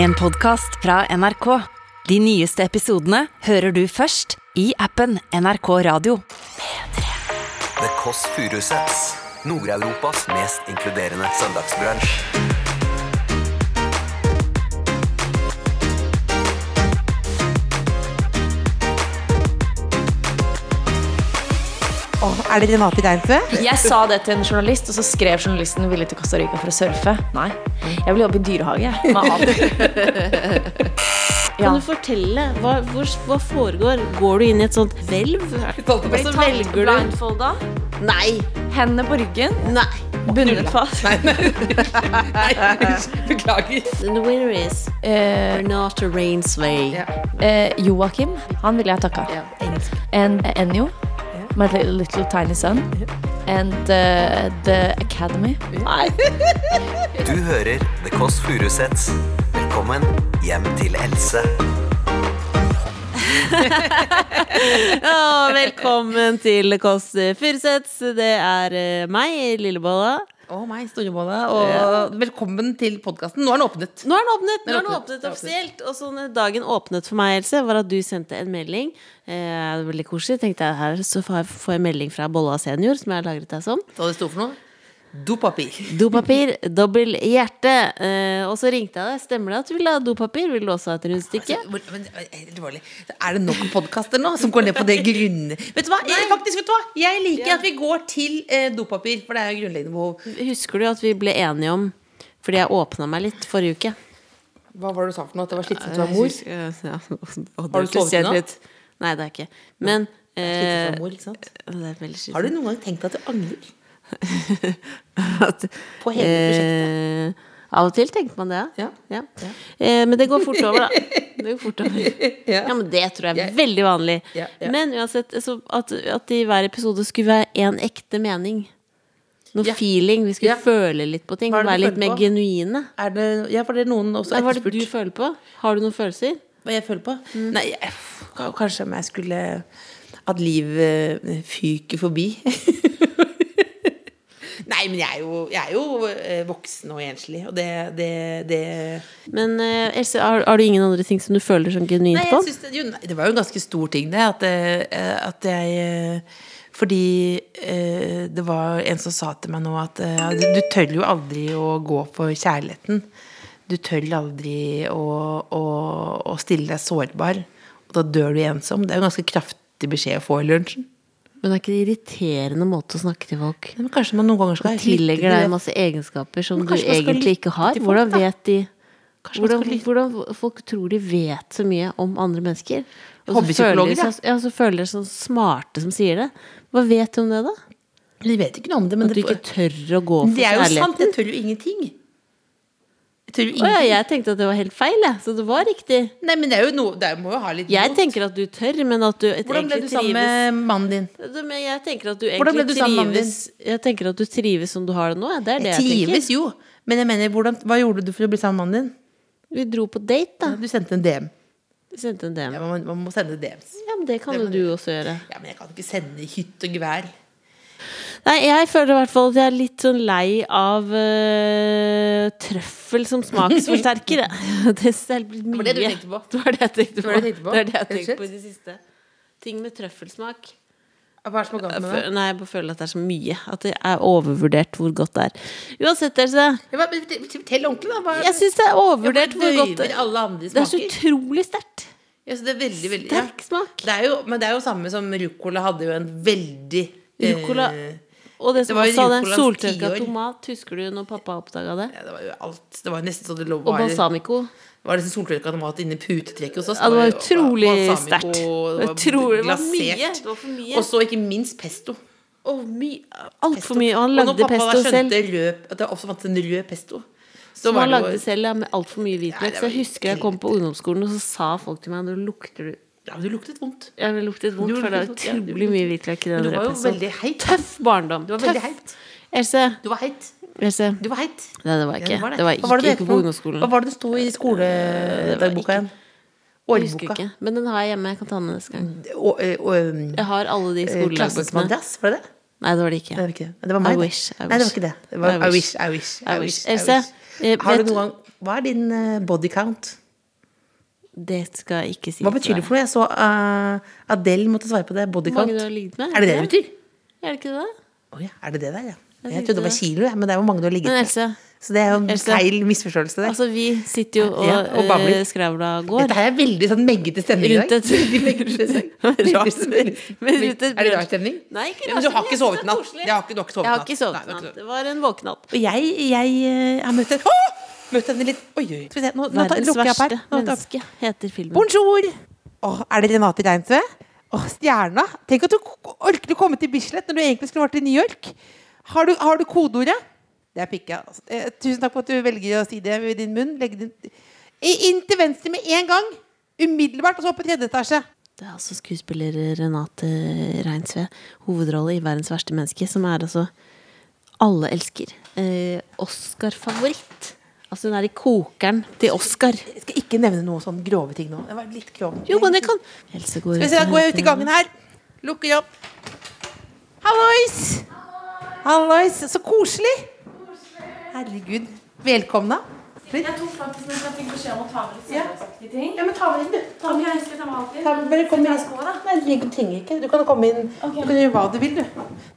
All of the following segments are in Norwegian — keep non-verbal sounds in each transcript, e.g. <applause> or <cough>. En podcast fra NRK. De nyeste episodene hører du først i appen NRK Radio. The Kåss Furuseths. Nord-Europas mest inkluderende søndagsbransj. Åh, er dere mat i Deinfø? Jeg sa det til en journalist, og så skrev journalisten ville til Costa Rica for å surfe. Nei, jeg vil jobbe i dyrehage. jeg, Med aper. Ja. Kan du fortelle, hva, hvor, hva foregår? Går du inn i et sånt hvelv? Og så velger du Blindfolda, Nei! hendene på ryggen, Nei! bundet fast. The winner is Eh, Renate Rainsway. eh, Joakim, han ville jeg takka. And Enyo, my li- little tiny son. And eh, The Academy. Du hører The Kåss Furuseths. Velkommen hjem til Else. Og velkommen til Kåss Furuseths. Det er eh, meg, Lillebolla. Og meg, Storebolle. Og velkommen til podkasten. Nå er den åpnet. Nå er den åpnet, nå er den åpnet, åpnet den er åpnet. offisielt. Og så når dagen åpnet for meg, Else, var at du sendte en melding. Eh, det var veldig koselig. Tenkte jeg her så får jeg- får jeg melding fra Bolla senior, som jeg har lagret deg som. Hva det sto for noe? Dopapir. Dopapir, dobbel hjerte. Eh, og så ringte jeg deg. Stemmer det at du vil ha dopapir? Vil du også ha et rundstykke? Hvor- men, eh, helt alvorlig, Er det nok podkaster nå som går ned på det grunne Vet du hva, jeg, faktisk, vet du hva? jeg liker at vi går til eh, dopapir, for det er jo grunnleggende behov. Altså, Husker du at vi ble enige om Fordi jeg åpna meg litt forrige uke. Hva var det du sa for noe? At det var slitsomt Jeg husker- eh, Ja, <laughs> og det Har du sovet interesserte i natt? litt. Nei, det er ikke. Men eh, Slitsomt å være mor, ikke sant? det er veldig slitsomt. Har du noen gang tenkt at du angrer? at, På hele Eh, av og til tenker man det, Ja. Eh, men det går fort <laughs> over, da. Det går fort over. Ja. men det tror jeg er Jeg- veldig vanlig. Ja, ja. Men uansett, så at, at det i hver episode skulle være én ekte mening. Noe Ja. feeling. Vi skulle Ja. føle litt på ting. Hva er det Være du litt føler mer på? genuine. Er det, ja, for det er noen også Hva er det etterspurt. du føler på? Har du noen følelser? Hva jeg føler på? Nei, jeg, f- k- kanskje om jeg skulle At livet eh, fyker forbi. <laughs> Nei, men jeg er jo, jeg er jo eh, voksen og enslig, og det, det, det Men eh, Else, har, har du ingen andre ting som du føler sånn genuint Nei, på? jeg synes det, jo, nei, det var jo en ganske stor ting, det. At, eh, at jeg eh, Fordi eh, det var en som sa til meg nå at eh, du, du tør jo aldri å gå for kjærligheten. Du tør aldri å, å, å stille deg sårbar. Og da dør du ensom. Det er jo en ganske kraftig beskjed å få i lunsjen. Men det er ikke en irriterende måte å snakke til folk Men kanskje man noen ganger skal lytte til tillegger det. deg masse egenskaper som du Men kanskje man skal egentlig ikke lytte har. til folk, Hvordan da? vet de Kanskje man hvordan, skal lytte. hvordan folk tror de vet så mye om andre mennesker? Og så føler Hobbypsykologer, de seg, ja, så føler de seg sånn smarte som sier det. Hva vet du om det, da? De vet ikke noe om det, men At du det, ikke tør å gå for det er jo kjærlighet? sant. Jeg tør jo ingenting. Jeg tør jo Å ja, ingenting. jeg tenkte at det var helt feil, jeg. Så det var riktig. Nei, men det er jo noe Det er- må jo ha litt Jeg mot. tenker at du tør, men at du et- Hvordan ble du egentlig trives sammen med mannen din? Du, men Jeg tenker at du Hvordan ble egentlig du sammen med mannen din? trives Jeg tenker at du trives som du har det nå. ja. Det er det Jeg jeg, tenker. trives jo, men jeg mener, hvordan, hva gjorde du for å bli sammen med mannen din? Vi dro på date, da. Du sendte en DM. Vi sendte en DM. Ja, man, man må sende DMs. Ja, men det kan jo du også gjøre. Ja, men jeg kan ikke sende i hytt og gevær. Nei, jeg føler i hvert fall at jeg er litt sånn lei av eh, trøffel som smaksforsterker. jeg. <laughs> det er helt blitt mye. var det du tenkte på. <laughs> Det var det jeg tenkte på. var det du tenkte på, Det er det jeg rett og tenkte på i slett. det siste. Ting med trøffelsmak. Hva er det som er galt med Fø- det? Nei, jeg bare føler at det er så mye. At det er overvurdert hvor godt det er. Uansett, Else. Ja, hva- men fort- Fortell ordentlig, da. Hva er Jeg syns det er overvurdert hvor godt det alle andre Det er så smaker. utrolig sterkt. Ja, så det er veldig, veldig ja. Sterk smak. Det er jo, men det er jo samme som ruccola hadde jo en veldig eh, Rucola. Og det som var jo også hadde Rucolas soltørka tiår. tomat, husker du når pappa oppdaga det? ja, det var jo alt. Det var nesten så det lå Og bare- balsamico. Det var liksom soltørka tomat inni putetrekket hos oss. Ja, det var jo- utrolig balsamico, sterkt. det var Utrolig- det var glasert. mye, det var for mye. Og så ikke minst pesto. Oh, Altfor mye. Og han når lagde pappa da pesto selv. skjønte rød, at det også fantes en rød pesto, så Som var han det jo- lagde selv ja, med altfor mye Nei, hvitløk. det Så var jeg husker jeg kom på ungdomsskolen, og så sa folk til meg Nå lukter du Ja, men det luktet vondt. Ja, det luktet vondt, Du for det er luktet vondt, ja. utrolig mye hvitløk i Men den du var jo rødpesten. veldig heit. Tøff barndom. Du var veldig Tøff. heit. Else. Du var heit. Else. Du var heit. Nei, det var jeg Ja, ikke. Det du var Hva ikke, var det ikke het for på noe? ungdomsskolen. Hva var det det sto i skoledagboka igjen? Jeg husker Årboka. ikke. Men den har jeg hjemme. Jeg kan ta den neste gang. Å- ø- ø- Jeg har alle de ø, Klassens skoledagbøkene. madrass, var Eh, det det? Nei, det var det ikke. Nei, det var ikke det. Det var meg. I det. wish, I Nei, det var wish. ikke det. det var, I I wish. wish, I wish. I wish. Else, eh, Har vet- du noen gang Hva er din eh, body count? Det skal jeg ikke si. Hva betyr det for noe? Jeg så eh, Adele måtte svare på det. Body Hvor count. mange du har ligget med? Er det det det betyr? Er det ikke det? Å ja, er det det der, ja? Jeg, tenkte trodde det var det. kilo, jeg, men det er hvor mange du har ligget Men med. Else, Så det er jo en Else. feil misforståelse der. altså vi sitter jo og, Ja, og babler. eh, skravla og går. Dette her er veldig sånn meggete stemning i Rundt dag. et- <laughs> Veldig <laughs> meggete stemning. Rar Veldig stemning. men rundt et Er det brunch- rar stemning? Nei, ikke Ja, men du rar har stemning, ikke sovet det er natt. koselig. Det har ikke, du har ikke sovet Jeg har ikke Nei, sovet du har natt. ikke Det var en våkenatt. Og jeg, jeg eh, har møtt en Å! Møtt henne litt Oi, oi. Skal vi se, nå, nå ta, Verdens lukker jeg opp her. verste Nå, tar- menneske heter filmen. Bonjour! Åh, er det Renate Reinsve? Åh, stjerna! Tenk at du k- orker å komme til Bislett når du egentlig skulle vært i New York. Har du, har du kodeordet? Det er pikka. altså. Eh, tusen takk for at du velger å si det ved din munn. Legg din I- Inn til venstre med en gang! Umiddelbart, og så opp i tredje etasje. Det er altså skuespiller Renate Reinsve, hovedrolle i 'Verdens verste menneske', som er altså alle elsker. Eh, Oscar-favoritt. Altså hun er i kokeren til Oscar. Jeg skal ikke nevne noe sånn grove ting nå. Det var litt grov. Jo, men det kan Else går Skal vi se, og da går jeg ut i henter gangen her. Lukker opp. Hallois! Hallois. Så koselig! Herregud. Velkomna. Jeg tok faktisk jeg fikk beskjed om å ta med litt ja. ja, men ta med inn, du. Ta med, bare kom inn. Nei, du trenger ikke. Du kan komme inn. Du kan gjøre hva du vil, du.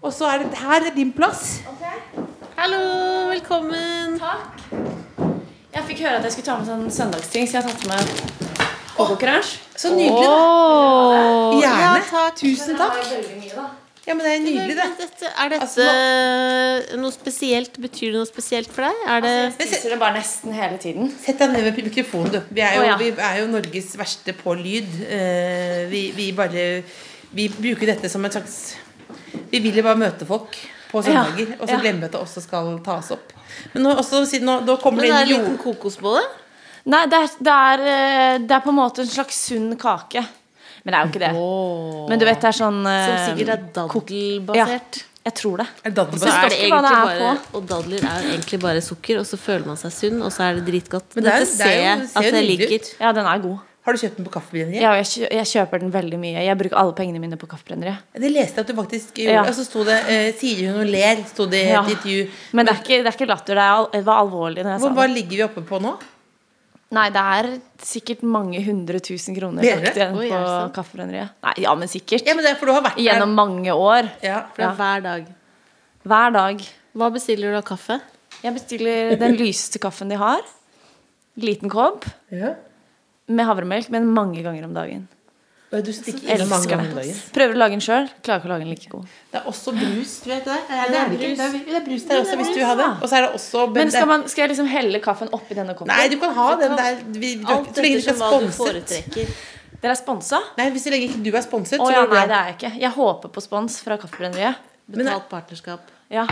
Og så er det her er din plass. den. Hallo, velkommen. Jeg fikk høre at jeg skulle ta med sånn søndagsting, så jeg har tatt med kokokrasj. Så nydelig, da. Ja, Gjerne. takk. Tusen takk. Ja, men det er nydelig, det. Dette, er dette noe spesielt? Betyr det noe spesielt for deg? Er det Jeg spiser det bare nesten hele tiden. Sett deg ned ved mikrofonen, du. Vi er jo, Å, ja. vi er jo Norges verste på lyd. Eh, vi, vi bare Vi bruker dette som en slags Vi vil jo bare møte folk på søndager, og så glemme at det også skal tas opp. Men nå, også, siden nå, da kommer Men det er en det inn liten jord... kokosbolle? Nei, det er, det, er, eh, det er på en måte en slags sunn kake. Men det er jo ikke det. Men du vet, det er sånn Som eh, sikkert er daddelbasert. Ja, jeg tror det. Er det daddelbasert? Så er står det ikke hva det egentlig er bare, og dadler er egentlig bare sukker, og så føler man seg sunn, og så er det dritgodt. Men det er jo- Dette det er ser jo- jeg det at ser jo jeg nydelig liker. Ja, den er god. Har du kjøpt den på Kaffebrenneriet? Ja, og jeg, kjø- jeg kjøper den veldig mye. Jeg bruker alle pengene mine på kaffebrenneriet. Det leste jeg at du faktisk gjorde. Ja. Og så sto det eh, 'Sier hun og ler', sto Eh, det i Ja. et intervju. Men det er ikke, det er ikke latter. Det, er al det var alvorlig. Når jeg Hvor, sa hva det. ligger vi oppe på nå? Nei, det er sikkert mange hundre tusen kroner Mener du? lagt igjen Oi, er det på sant? kaffebrenneriet. Nei, ja, men sikkert. Ja, men det er for du har vært Gjennom mange år. der. Ja. For det er hver dag. Hver dag. Hva bestiller du av kaffe? Jeg bestiller den lyseste kaffen de har. Liten kopp ja. med havremelk, men mange ganger om dagen. Og Du stikker Elsker innom mange ganger om det. dagen. Prøver å lage den sjøl, klarer ikke å lage den like god. Det er også brus, du vet det? Nei, det er det ikke. brus. Det er- det er brus der også, hvis du har det. Og så er det også Men skal, man, skal jeg liksom helle kaffen oppi denne koppen? Nei, du kan ha den der vi, du, Alt Så lenge du ikke ettersom hva er du sponset. foretrekker. Dere er sponsa? Nei, hvis så lenge ikke du er sponset, Å så ja, går det nei, bra. det er jeg ikke. Jeg håper på spons fra Kaffebrenneriet. Betalt partnerskap. Ja.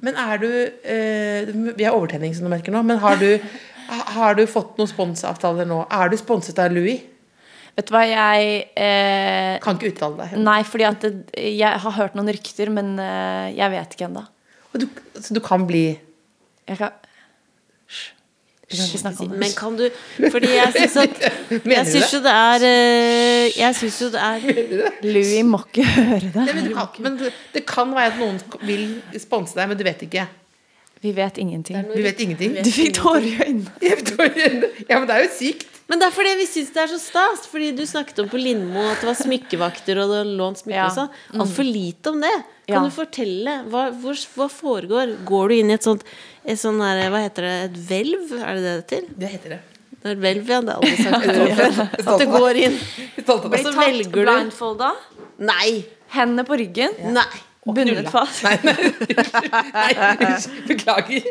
Men er du eh, Vi har overtenning, som du merker nå. Men har du, har du fått noen sponsavtaler nå? Er du sponset av Louis? Vet du hva, jeg eh, Kan ikke uttale deg. Nei, fordi at det, jeg har hørt noen rykter, men eh, jeg vet ikke ennå. Og du, så du kan bli <laughs> Jeg kan Hysj. Ikke snakk om det. Men kan du Fordi jeg syns <laughs> at Mener Jeg du syns det? jo det er eh, Jeg syns jo det er Louis må ikke høre det. Nei, men, du kan, men det- det kan være at noen vil sponse deg, men du vet ikke. Vi vet ingenting. Du vet ingenting. <laughs> Du fikk tårer i øynene. Ja, men det er jo sykt. Men det er fordi vi syns det er så stas. Fordi du snakket om på Lindmo at det var smykkevakter og det var lånt smykke Ja. og sånn. Altfor lite om det. Kan Ja. du fortelle? Hva, hvor, hva foregår? Går du inn i et sånt et sånn der, Hva heter det? Et hvelv? Er det det det til? Det heter det. Det er et hvelv, ja. Det har alle sagt før. At du går inn. Stolt av deg. Og så velger du Blindfolda, Nei! hendene på ryggen, Nei! bundet fast. Nei, nei, unnskyld. nei, unnskyld. <laughs> beklager.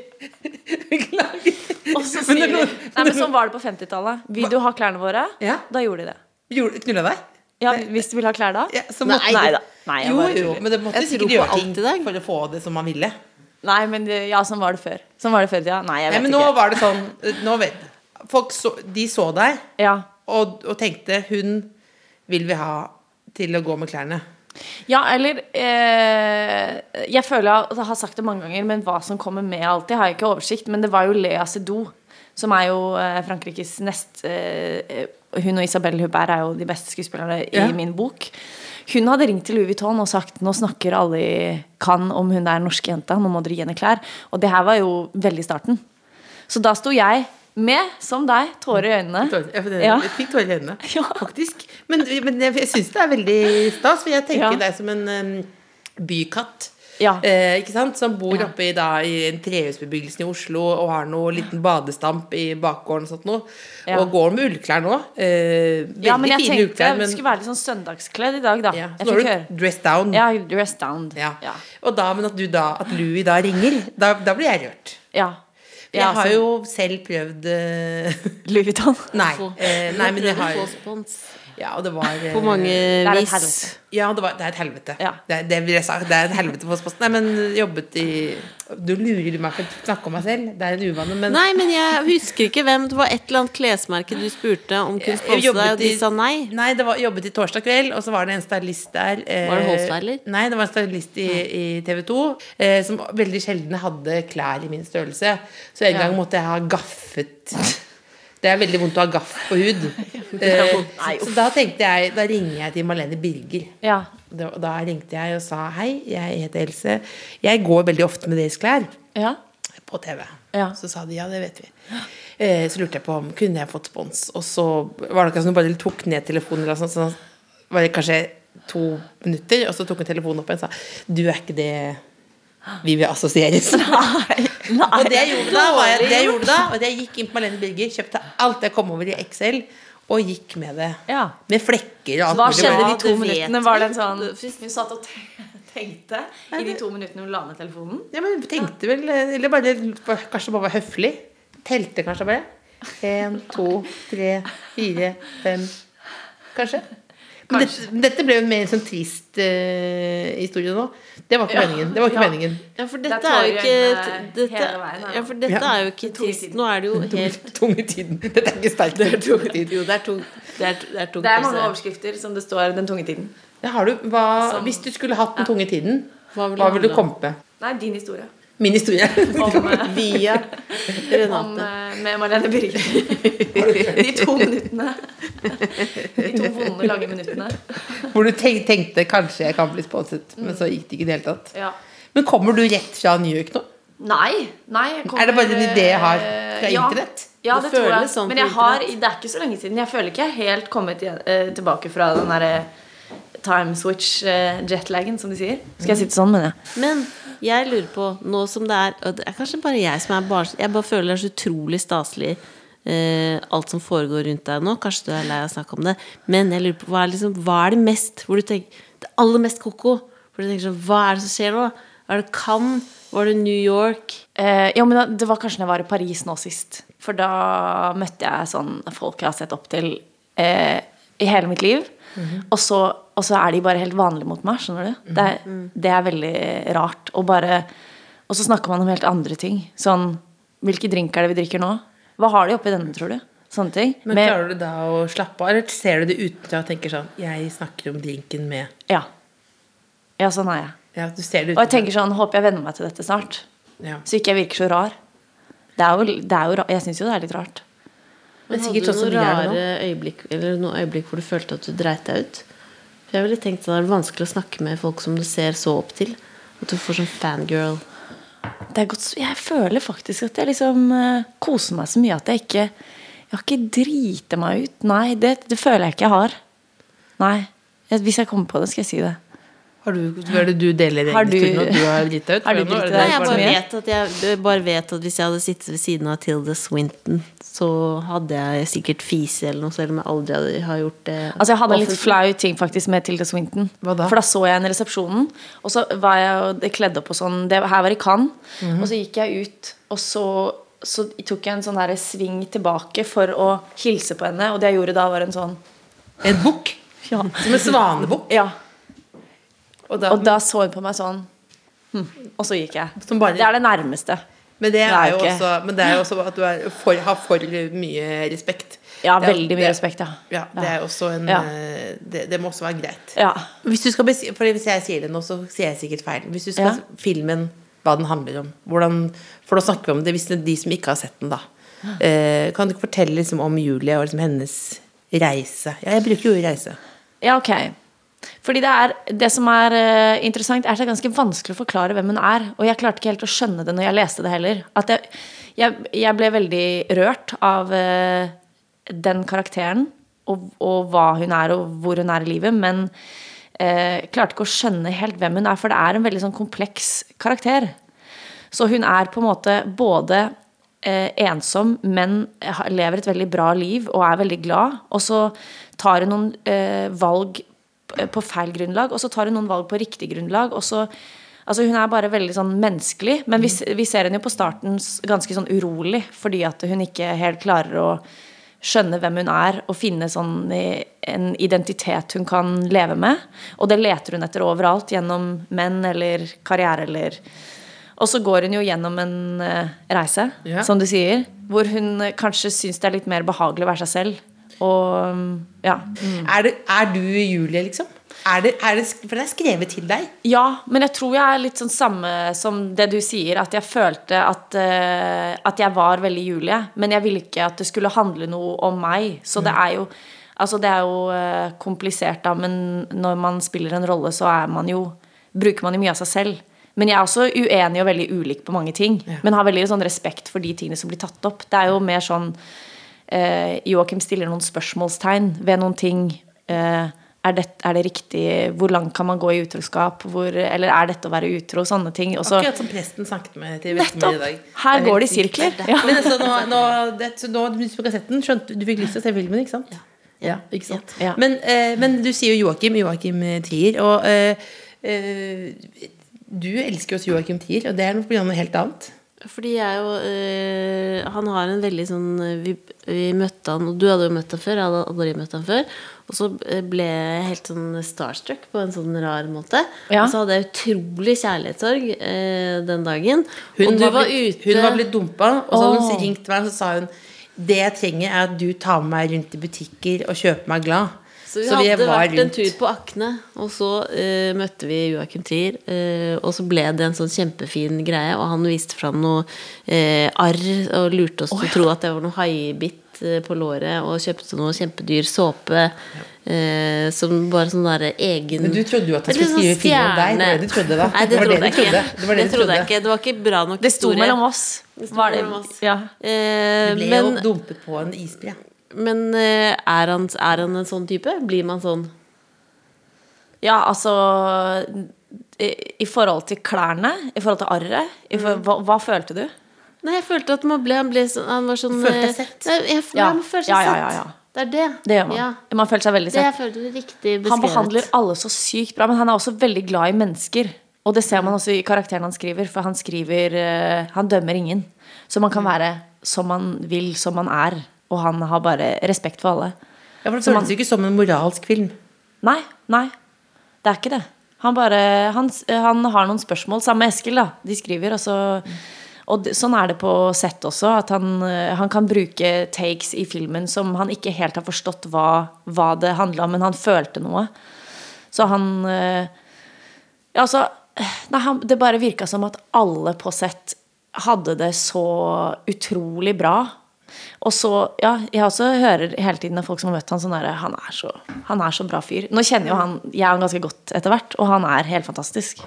Beklager. <laughs> Og så sier når de noen- Nei, men sånn var det på 50-tallet. Vil du ha klærne våre? Ja. Da gjorde de det. Gjorde- Knulla deg? Ja, hvis du vil ha klær da? Ja, så Nei, måtte- nei da. Nei, jeg jo, bare jo, tuller. men det måtte Jeg sikkert tror på gjøre alt ting i dag. for å få det som man ville. Nei, men det- ja, sånn var det før. Sånn var det før i tida. Nei, jeg Nei, vet men nå var det sånn nå vet, Folk så, de så deg ikke. Ja. og, og tenkte 'hun vil vi ha til å gå med klærne'. ja, eller eh, Jeg føler jeg har sagt det mange ganger, men hva som kommer med alltid, har jeg ikke oversikt. Men det var jo Lea Seydoux, som er jo eh, Frankrikes nest eh, Hun og Isabel Hubert er jo de beste skuespillerne Ja. i min bok. Hun hadde ringt til Louis Vuitton og sagt nå snakker alle i Cannes om hun er norske jenta, nå må dere gi henne klær. Og det her var jo veldig starten. Så da sto jeg Med, som deg, tårer i øynene. Tårer- ja, for det- Ja. Jeg fikk tårer i øynene, Ja. faktisk. Men, men jeg, jeg syns det er veldig stas, for jeg tenker Ja. deg som en em, bykatt. Ja. Eh, ikke sant? Som bor oppe i, da, i en trehusbebyggelse i Oslo og har noe liten badestamp i bakgården og sånt noe. Ja. Og går med ullklær nå. Eh, veldig Ja, men jeg fine tenkte ullklær, jeg men skulle være litt sånn søndagskledd i dag, da. ja. Så Jeg nå fikk har du høre. dress down. Ja, dress down. Mm. Ja. Ja. Og da, men at du da At Louis da ringer, da, da blir jeg rørt. ja. Jeg Ja, har altså, jo selv prøvd eh, <laughs> Louis Vuitton. Nei. Eh, nei, men jeg har Få spons Ja, og det var eh, på mange Det er et vis. helvete. Ja, det, var, det er et helvete. Ja. Det, er- det vil jeg sa. Det er et helvete for Posten. Nei, men jobbet i Du lurer meg for å snakke om meg selv. Det er en uvane, men Nei, men jeg husker ikke hvem. Det var et eller annet klesmerke du spurte om kunne Jeg sponse deg, og de i- sa nei. Nei, det var, jobbet i torsdag kveld, og så var det en stylist der. eh, Var det Holstad, eller? Nei, det var en stylist i, i TV 2 eh, som veldig sjelden hadde klær i min størrelse. Så en gang måtte jeg ha gaffet. Det er veldig vondt å ha gaff på <laughs> hud. Eh, så da tenkte jeg, da ringer jeg til Malene Birger. Ja. Da, da ringte jeg og sa hei, jeg heter Else. Jeg går veldig ofte med deres klær Ja. på TV. Ja. Så sa de ja, det vet vi. Eh, så lurte jeg på om kunne jeg fått spons. Og så var det akkurat som hun bare tok ned telefonen, eller sånn, noe sånt, så var det kanskje to minutter, og så tok hun telefonen opp igjen og sa du er ikke det vi vil assosieres. <laughs> Og det jeg gjorde da, var jeg, det jeg gjorde da var at jeg gikk inn på Malene Birger, kjøpte alt jeg kom over i Excel, og gikk med det. Ja. Med flekker og alt Hva mulig skjedde bra. de to det vet minuttene? vi. Var det en sånn Det- Hun satt og te- tenkte i de to minuttene hun la ned telefonen? Ja, men tenkte vel eh, Eller bare, kanskje bare var høflig. Telte kanskje bare. Én, to, tre, fire, fem Kanskje. Men dette, men dette ble jo mer en sånn trist eh, historie nå. Det var ikke meningen. Det var ikke Ja. meningen. Ja, for Det dette er er tårer jo i ikke øynene dette, eh, hele veien, da. ja, for dette Ja. er jo ikke trist. Nå er det jo helt Tung i tiden. Dette er ikke sterkt. Det er tung i tiden. Jo, det er tungt. Det er, det er tungt, Det er mange altså. overskrifter som det står 'Den tunge tiden'. Ja, har du, hva, Som- hvis du skulle hatt den tunge tiden, ville Sånn. hva ville det vil du handle om? komme med? Nei, din historie. Min historie. <laughs> Om, eh, Via om, Renate. eh, med Marlene <laughs> Birger. De to minuttene. De to vonde, lange minuttene. Hvor du tenk- tenkte kanskje jeg kan bli sponset, men så gikk det ikke i det hele tatt. Ja. Men kommer du rett fra New York nå? Nei. nei jeg kommer, Er det bare en idé jeg har fra Eh, ja. internett? Ja, det, Det tror jeg. føles sånn Men på jeg har, det er ikke så lenge siden. Jeg føler ikke jeg er helt kommet igjen, eh, tilbake fra den derre time switch eh, jetlagen, som de sier. Skal jeg sitte sånn, mener jeg? Men jeg lurer på, nå som det er og Det er kanskje bare jeg som er barnslig Jeg bare føler det er så utrolig staselig eh, alt som foregår rundt deg nå. Kanskje du er lei av å snakke om det, men jeg lurer på hva er, liksom, hva er det mest hvor du tenker, Det aller mest ko-ko? Hvor du tenker sånn Hva er det som skjer nå? Er det Cannes? Var det New York? Eh, ja, men da- det var kanskje da jeg var i Paris nå sist. For da møtte jeg sånn folk jeg har sett opp til eh, i hele mitt liv. Mhm. og, så, og så er de bare helt vanlige mot meg, skjønner du? Det er, Mhm. Mm. det er veldig rart. Og, bare, og så snakker man om helt andre ting. Sånn Hvilke drink er det vi drikker nå? Hva har de oppi denne, tror du? Sånne ting. Men Med- klarer du da å slappe av, eller ser du det utenfra og tenker sånn Jeg snakker om drinken med Ja. ja, sånn er jeg. Ja, du ser det Og jeg utenfra. tenker sånn, håper jeg venner meg til dette snart. Ja. Så ikke jeg virker så rar. Det er jo, det er jo, ra- jeg syns jo det er litt rart. Men Men hadde sikkert sånn du noen som vi er det nå. rare øyeblikk Eller noen øyeblikk hvor du følte at du dreit deg ut? For jeg ville tenkt at det er vanskelig å snakke med folk som du ser så opp til. At du får sånn fangirl. Det er godt, jeg føler faktisk at jeg liksom eh, koser meg så mye at jeg ikke Jeg har ikke driti meg ut. Nei, det, det føler jeg ikke jeg har. Nei. Jeg- Hvis jeg kommer på det, skal jeg si det. Har du, hva er det du deler Har egen du- historie nå? Du har drita ut? Har du Nå er driti det deg Nei, det jeg som bare er mye. vet, at jeg, jeg bare vet at hvis jeg hadde sittet ved siden av Tilda Swinton, så hadde jeg sikkert fise eller noe, selv om jeg aldri hadde, har gjort det. Altså Jeg hadde en litt offentlig. flau ting faktisk med Tilda Swinton. Hva da? For da så jeg henne i resepsjonen, og så var jeg jo- det kledd opp og sånn. Det, her var i Cannes. Mhm. Og så gikk jeg ut, og så, så tok jeg en sånn der sving tilbake for å hilse på henne. Og det jeg gjorde da, var en sånn En bukk? Ja. Som en svanebukk? ja. Og da, Og da så hun på meg sånn. Hm. Og så gikk jeg. Som bare- Det er det nærmeste. men, det er er jo jo ikke- også, men det er jo også at du er for, har for mye respekt. Ja, Det er- veldig det- mye respekt, ja. Ja, det er også en Ja. eh, det, det må også være greit. Ja. Hvis, du skal besi- fordi hvis jeg sier det nå, så sier jeg sikkert feil. Hvis du skal Ja. filmen, hva den handler om hvordan, For da snakker vi om det hvis det er de som ikke har sett den, da. Eh, kan du ikke fortelle liksom, om Julie og liksom, hennes reise? Ja, jeg bruker jo reise. ja, ok. Fordi det, er, det som er eh, interessant, er at det er ganske vanskelig å forklare hvem hun er. Og jeg klarte ikke helt å skjønne det når jeg leste det heller. At jeg, jeg, jeg ble veldig rørt av eh, den karakteren, og, og hva hun er, og hvor hun er i livet. Men eh, klarte ikke å skjønne helt hvem hun er, for det er en veldig sånn kompleks karakter. Så hun er på en måte både eh, ensom, men ha- lever et veldig bra liv og er veldig glad. Og så tar hun noen eh, valg p- på feil grunnlag, og så tar hun noen valg på riktig grunnlag. og så Altså Hun er bare veldig sånn menneskelig, men vi, s- vi ser henne jo på starten s- ganske sånn urolig fordi at hun ikke helt klarer å skjønne hvem hun er og finne sånn i- en identitet hun kan leve med. Og det leter hun etter overalt, gjennom menn eller karriere eller og så går hun jo gjennom en eh, reise, Ja. som du sier, hvor hun eh, kanskje syns det er litt mer behagelig å være seg selv. Og mm, ja. Er, det, er du Julie, liksom? Er det, er det, sk- for det er skrevet til deg. ja, men jeg tror jeg er litt sånn samme som det du sier, at jeg følte at, eh, at jeg var veldig Julie, men jeg ville ikke at det skulle handle noe om meg. Så det er jo Altså, det er jo eh, komplisert, da, men når man spiller en rolle, så er man jo Bruker man jo mye av seg selv. Men jeg er også uenig og veldig ulik på mange ting. Men har veldig sånn respekt for de tingene som blir tatt opp. Det er jo mer sånn eh, Joakim stiller noen spørsmålstegn ved noen ting. Eh, er, det, er det riktig? Hvor langt kan man gå i utroskap? Hvor, eller er dette å være utro? Sånne ting. Og så, Akkurat som presten snakket med til Vestmø i nettopp! dag. Her Det er går det helt i sykt. sirkler. Ja. Men altså, nå, nå, det, så nå du på kassetten, skjønte, du fikk lyst til å se filmen, ikke sant? Ja. ikke sant? Ja. Men, eh, men du sier jo Joakim, Joakim eh, Trier, og eh, eh, du elsker jo også Joakim Trier, og det er noe på grunn av noe helt annet. Fordi jeg jo øh, Han har en veldig sånn øh, vi, vi møtte han, og du hadde jo møtt han før, jeg hadde aldri møtt han før. Og så øh, ble jeg helt sånn starstruck på en sånn rar måte. Ja. Og så hadde jeg utrolig kjærlighetssorg øh, den dagen. og du var var, blitt, ute hun var blitt dumpa, og så hadde Åh. hun ringt meg og så sa hun Det jeg trenger, er at du tar med meg rundt i butikker og kjøper meg glad. Så vi hadde vært en tur på Akne, og så eh, møtte vi Joakim Trier. eh, og så ble det en sånn kjempefin greie, og han viste fram noe eh, arr og lurte oss til å tro at det var noe haibitt eh, på låret, og kjøpte noe kjempedyr såpe eh, som bare sånn derre egen Men du trodde jo at han Litt skulle sånn skrive film om deg. Det var stjerne. det du trodde, da. Nei, det, Det var det trodde jeg du ikke. trodde. Det var det du trodde jeg trodde. ikke. Det var ikke bra nok Det sto historie. mellom oss. Det sto Var det- mellom oss. Ja. Eh, Ble men jo dumpet på en isbre. men eh, er, han, er han en sånn type? Blir man sånn? Ja, altså i, I forhold til klærne, i forhold til arret, i for, Mm. hva, hva følte du? Nei, jeg følte at man ble, han ble sånn Han var sånn Du følte deg eh, sett? Nei, jeg, ja. Ja. Man føler seg Ja, ja, ja, ja. sett. Det er det. Det gjør man. Ja. Man følte seg veldig Det sett. jeg følte det er riktig beskrevet. Han behandler alle så sykt bra, men han er også veldig glad i mennesker. Og det ser Mm. man også i karakteren han skriver, for han skriver eh, Han dømmer ingen. Så man Mm. kan være som man vil, som man er. Og han har bare respekt for alle. Ja, for Det Så man- føltes jo ikke som en moralsk film. Nei, nei. Det er ikke det. Han bare Han, han har noen spørsmål. Samme Eskil, da. De skriver, og så Mm. Og det, sånn er det på sett også, at han, eh, han kan bruke takes i filmen som han ikke helt har forstått hva, hva det handla om, men han følte noe. Så han eh, Ja, altså Nei, han, det bare virka som at alle på sett hadde det så utrolig bra. Og så, ja, jeg også hører hele tiden av folk som har møtt han sånn derre han, er så- han er så bra fyr. Nå kjenner jo han jeg han ganske godt etter hvert, og han er helt fantastisk.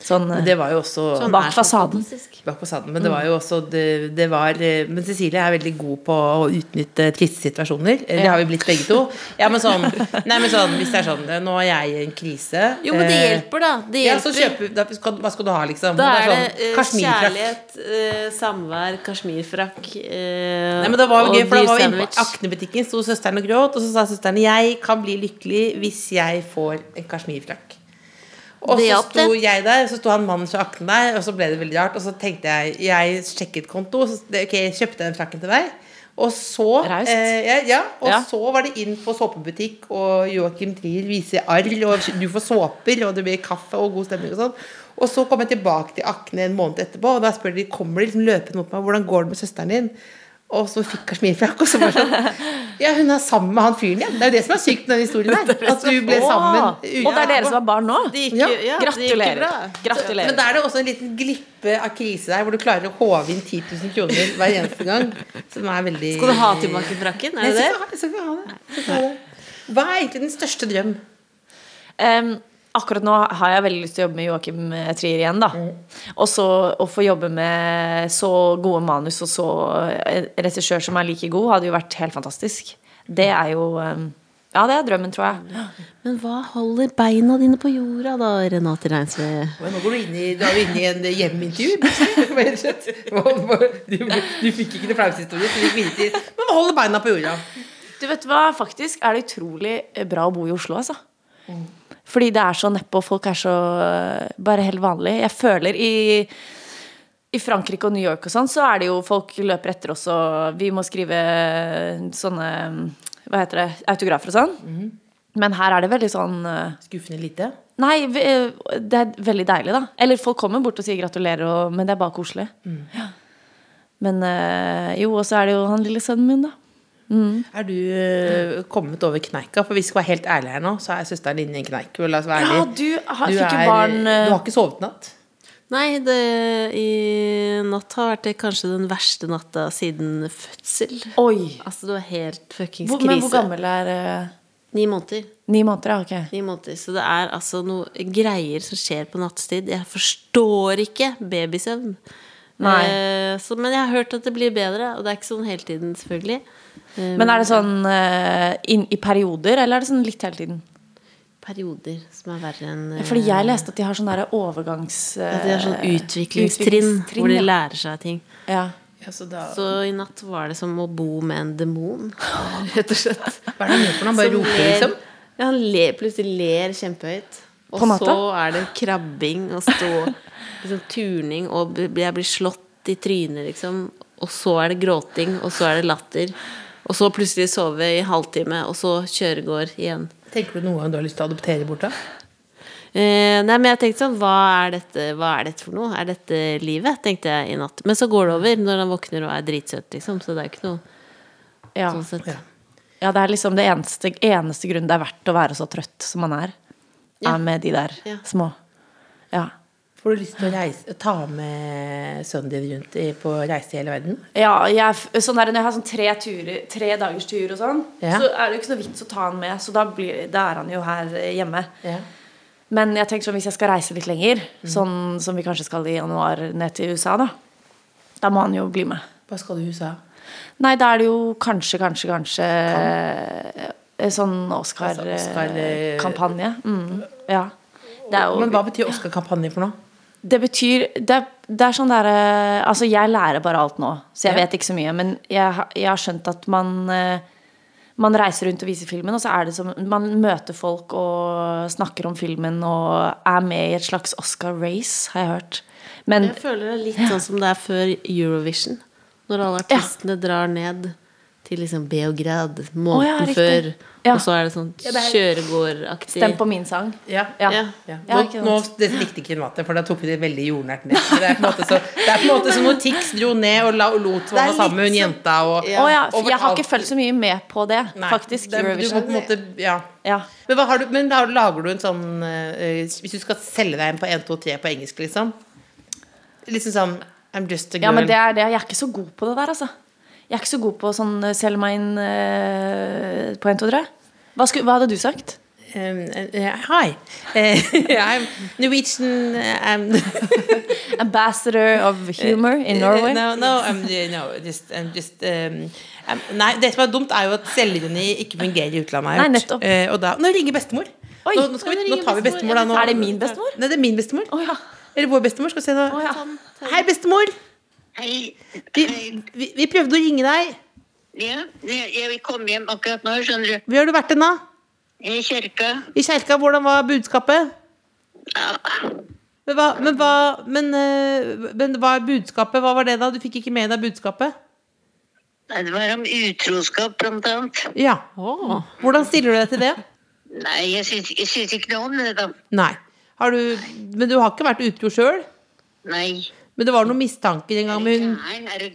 Sånn eh, Det var jo også Han bak er Mm. så fasaden. fantastisk. bak fasaden. Men det var jo også det, det var, eh, Men Cecilie er veldig god på å utnytte triste situasjoner. Eh, Det har vi blitt begge to. Ja, men sånn, nei, men sånn Hvis det er sånn eh, Nå er jeg i en krise. Jo, men det eh, hjelper, da. Det Ja, så hjelper. kjøper, da, skal, hva skal du ha, liksom? da Og er det det er sånn, eh, kasjmirfrakk. kjærlighet, eh, samvær, kasjmirfrakk eh, Nei, men det var jo og gøy, for da dyr var vi inne sandwich. på Aknebutikken, sto søsteren og gråt, og så sa søsteren 'Jeg kan bli lykkelig hvis jeg får en kasjmirfrakk'. Og Det så hjalp sto det. jeg der, så sto han mannen fra Akne der, og så ble det veldig rart. Og så tenkte jeg Jeg sjekket konto, så det- ok, jeg kjøpte den frakken til deg. Og så Raust. eh, ja, ja, og Ja. så var det inn på såpebutikk, og Joakim Trier viser arr, og du får såper, og det blir kaffe og god stemning og sånn. Og så kom jeg tilbake til Akne en måned etterpå, og da spør de kommer de liksom løpende mot meg hvordan går det med søsteren din. Og så fikk kasjmirfrakk, og så bare sånn Ja, hun er sammen med han fyren, ja. Det er jo det som er sykt med <laughs> den historien her. At du ble sammen Åh, og det er dere som har barn nå? Det gikk Ja. jo- ja, det gikk jo Gratulerer. bra. Gratulerer. Men da er det også en liten glippe av krise der, hvor du klarer å håve inn 10 000 kroner hver eneste gang. Som er veldig Skal du ha tilbake frakken? Nei, Er det jeg det? skal ikke ha- jeg skal ikke ha det. Jeg skal ikke ha det. Hva er egentlig den største drøm? Em, akkurat nå har jeg veldig lyst til å jobbe med Joakim eh, Trier igjen, da. Og så å få jobbe med så gode manus og så en regissør som er like god, hadde jo vært helt fantastisk. Det er jo em, Ja, det er drømmen, tror jeg. Men hva holder beina dine på jorda, da, Renate Reinsve? Oi, nå går du inn i, da er du inne i en hjemmeintervju. plutselig, rett og slett. Hva- hva- Du, du fikk ikke noe flaushistorie, så du gikk videre til Men hold beina på jorda. Du vet hva, faktisk er det utrolig eh, bra å bo i Oslo, altså. Mm. Fordi det er så nedpå, folk er så eh, bare helt vanlige. Jeg føler i, i Frankrike og New York og sånn, så er det jo folk løper etter oss, og vi må skrive eh, sånne eh, hva heter det, autografer og sånn. Mm. Men her er det veldig sånn eh, Skuffende lite. Nei, vi- eh, det er veldig deilig, da. Eller folk kommer bort og sier gratulerer, og, men det er bare koselig. Mm. Ja. Men eh, jo, og så er det jo han lille sønnen min, da. Er du eh, kommet over kneika? For vi skal være helt ærlige her nå, så er søsteren din i en kneik. og La oss være Ja, ærlig. du har, fikk jo barn eh, du har ikke sovet natt? Nei, det i natt har vært det kanskje den verste natta siden fødsel. Oi! Altså, det var helt fuckings Hvor, krise. men hvor gammel er eh, Ni måneder. Ni måneder, ja. Ok. Ni måneder. Så det er altså noe greier som skjer på nattestid. Jeg forstår ikke babysøvn. Nei. Eh, så, men jeg har hørt at det blir bedre, og det er ikke sånn hele tiden, selvfølgelig. Eh, Men er det sånn eh, inn, i perioder, eller er det sånn litt hele tiden? perioder som er verre enn eh, Fordi jeg leste at de har sånn derre overgangs... ja, eh, De har sånn utviklingstrinn, utviklingstrinn, hvor de ja. lærer seg ting. eh, ja. Ja, så da, Så i natt var det som å bo med en demon, <laughs> rett og slett. hva er det han gjør for noe? Han bare Som roper, ler- liksom? Ja, han ler, plutselig ler kjempehøyt. Og På natta? så er det krabbing og stå liksom, turning, og b- jeg blir slått i trynet, liksom. Og så er det gråting, og så er det latter. Og så plutselig sove i halvtime, og så kjøregård igjen. Tenker du noen gang du har lyst til å adoptere bort, da? Eh, nei, men jeg tenkte sånn, hva er, dette, hva er dette for noe? Er dette livet? tenkte jeg i natt. Men så går det over når han våkner og er dritsøt, liksom. Så det er jo ikke noe Ja. sånn sett. Ja. ja, det er liksom det eneste, eneste grunnen det er verdt å være så trøtt som man er. Ja. Er med de der Ja. små. Ja. Får du lyst til å reise, ta med sønnen din rundt i, på reise i hele verden? Ja, jeg, er f- sånn der, når jeg har sånn tre, turer, tre dagers tur og sånn, Ja. så er det jo ikke så vits å ta han med, så da, blir, da er han jo her eh, hjemme. Ja. Men jeg tenker sånn, hvis jeg skal reise litt lenger, Mm. sånn som vi kanskje skal i januar ned til USA, da, da må han jo bli med. Hva skal du i USA? Nei, da er det jo kanskje, kanskje, kanskje eh, sånn Altså, Oscar, eh, Oscar-kampanje. mm, ja. Det, er Men hva jo, betyr Oscar-kampanje for noe? det betyr det, er- det er sånn derre Altså, jeg lærer bare alt nå, så jeg Ja. vet ikke så mye. Men jeg, har- jeg har skjønt at man eh, man reiser rundt og viser filmen, og så er det som man møter folk og snakker om filmen og er med i et slags Oscar-race, har jeg hørt. Men Jeg føler det er litt sånn som det er før Eurovision. Når alle artistene drar ned til liksom Beograd måneden riktig. før. Ja. Og så er det sånn kjøregårdaktig. stem på min sang. Ja. Ja. Ja. Ja. Nå, Ja, ikke sant. nå det likte ikke Renate, for da tok vi det veldig jordnært ned. Det er på en måte så, det er på en måte som når Tix dro ned og, la, og lot henne Det er være sammen med litt hun som- jenta. Og, Ja. Å sånn- ja, for og jeg har fortalte- ikke fulgt så mye med på det, Nei, faktisk. det er- du må Eurovision. på en måte, ja. Ja. Men, hva har du, men da lager du en sånn eh, Hvis du skal selge deg inn på 1, 2, 3 på engelsk, liksom Liksom sånn I'm just a girl. ja, men det er det. Jeg er ikke så god på det der, altså. Jeg er ikke så god på sånn eh, selg meg inn eh, på 1, 2, 3. Hva, skulle, hva hadde du sagt? Um, eh, hi. Eh, <laughs> I'm Norwegian eh, I'm <laughs> Uh, Ambassador of humor in Norway. No, no, I'm, uh, no just, I'm just um, I'm, Nei, det som er dumt, er jo at selvironi ikke fungerer i utlandet. har jeg Nei, hørt. nettopp. Eh, og da, nå ringer bestemor. Oi, nå, nå, skal vi, nå tar vi bestemor, da. Nå. Er det min bestemor? Nei, det er min bestemor. Å ja. Eller vår bestemor. Skal vi se nå. Å, ja. Hei, bestemor! Hei. Vi, Hei. vi, vi prøvde å ringe deg. Ja, det- jeg vil komme hjem akkurat nå, skjønner du. Hvor har du vært hen, da? I kirka. I kjerka, hvordan var budskapet? Ja. Men hva, men hva, men, eh, men hva er budskapet? Hva var det, da? Du fikk ikke med deg budskapet? Nei, Det var om utroskap, blant annet. Ja. Hvordan stiller du deg til det? Nei, jeg syns, jeg syns ikke noe om det, da. Nei. Har du, men du har ikke vært utro sjøl? Nei. Men det var noen mistanker en gang med hun Gæren, er du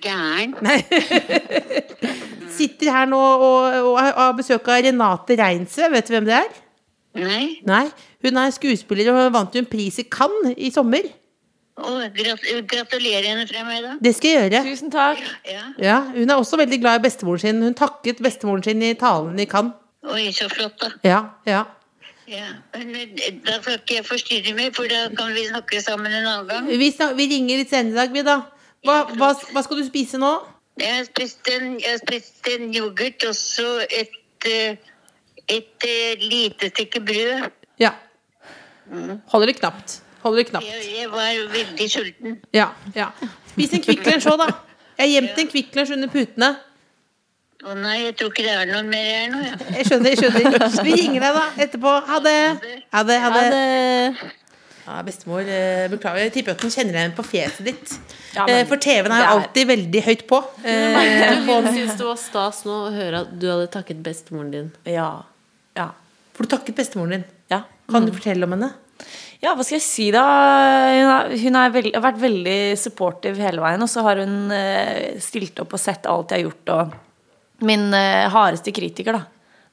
gæren? Sitter her nå og, og har besøk av Renate Reinsve. Vet du hvem det er? Nei. Nei. Hun er skuespiller og vant jo en pris i Cannes i sommer. Å, grat gratulerer henne fra meg, da. Det skal jeg gjøre. Tusen takk. Ja. Ja, Hun er også veldig glad i bestemoren sin. Hun takket bestemoren sin i talen i Cannes. Oi, så flott, da. Ja, ja. Ja, men eh, da skal ikke jeg forstyrre mer, for da kan vi snakke sammen en annen gang. Vi, snak- vi ringer litt senere i dag, vi, da. Hva, hva, hva skal du spise nå? Jeg har spist en, jeg har spist en yoghurt og så et, eh, et eh, lite stykke brød. Ja. Mm. Holder det knapt. Holder det knapt. Jeg, jeg var veldig sulten. Ja. ja. Spis en Kvikk Lunsj òg, da. Jeg har gjemt en Kvikk Lunsj under putene. Å nei, jeg tror ikke det er noe mer her nå, jeg. Jeg skjønner. jeg skjønner Vi ringer deg da etterpå. Ha det. Ha det. ha det ja, Bestemor, eh, beklager. Jeg tipper at hun kjenner igjen på fjeset ditt. Ja, men Eh, For TV-en er jo alltid veldig høyt på. Eh, Jeg syns det Sånn, var stas nå å høre at du hadde takket bestemoren din. Ja. Ja. For du takket bestemoren din. ja. Mm. Kan du fortelle om henne? Ja, hva skal jeg si da? Hun, er, hun er veld, har vært veldig supportive hele veien, og så har hun eh, stilt opp og sett alt jeg har gjort, og min eh, hardeste kritiker, da.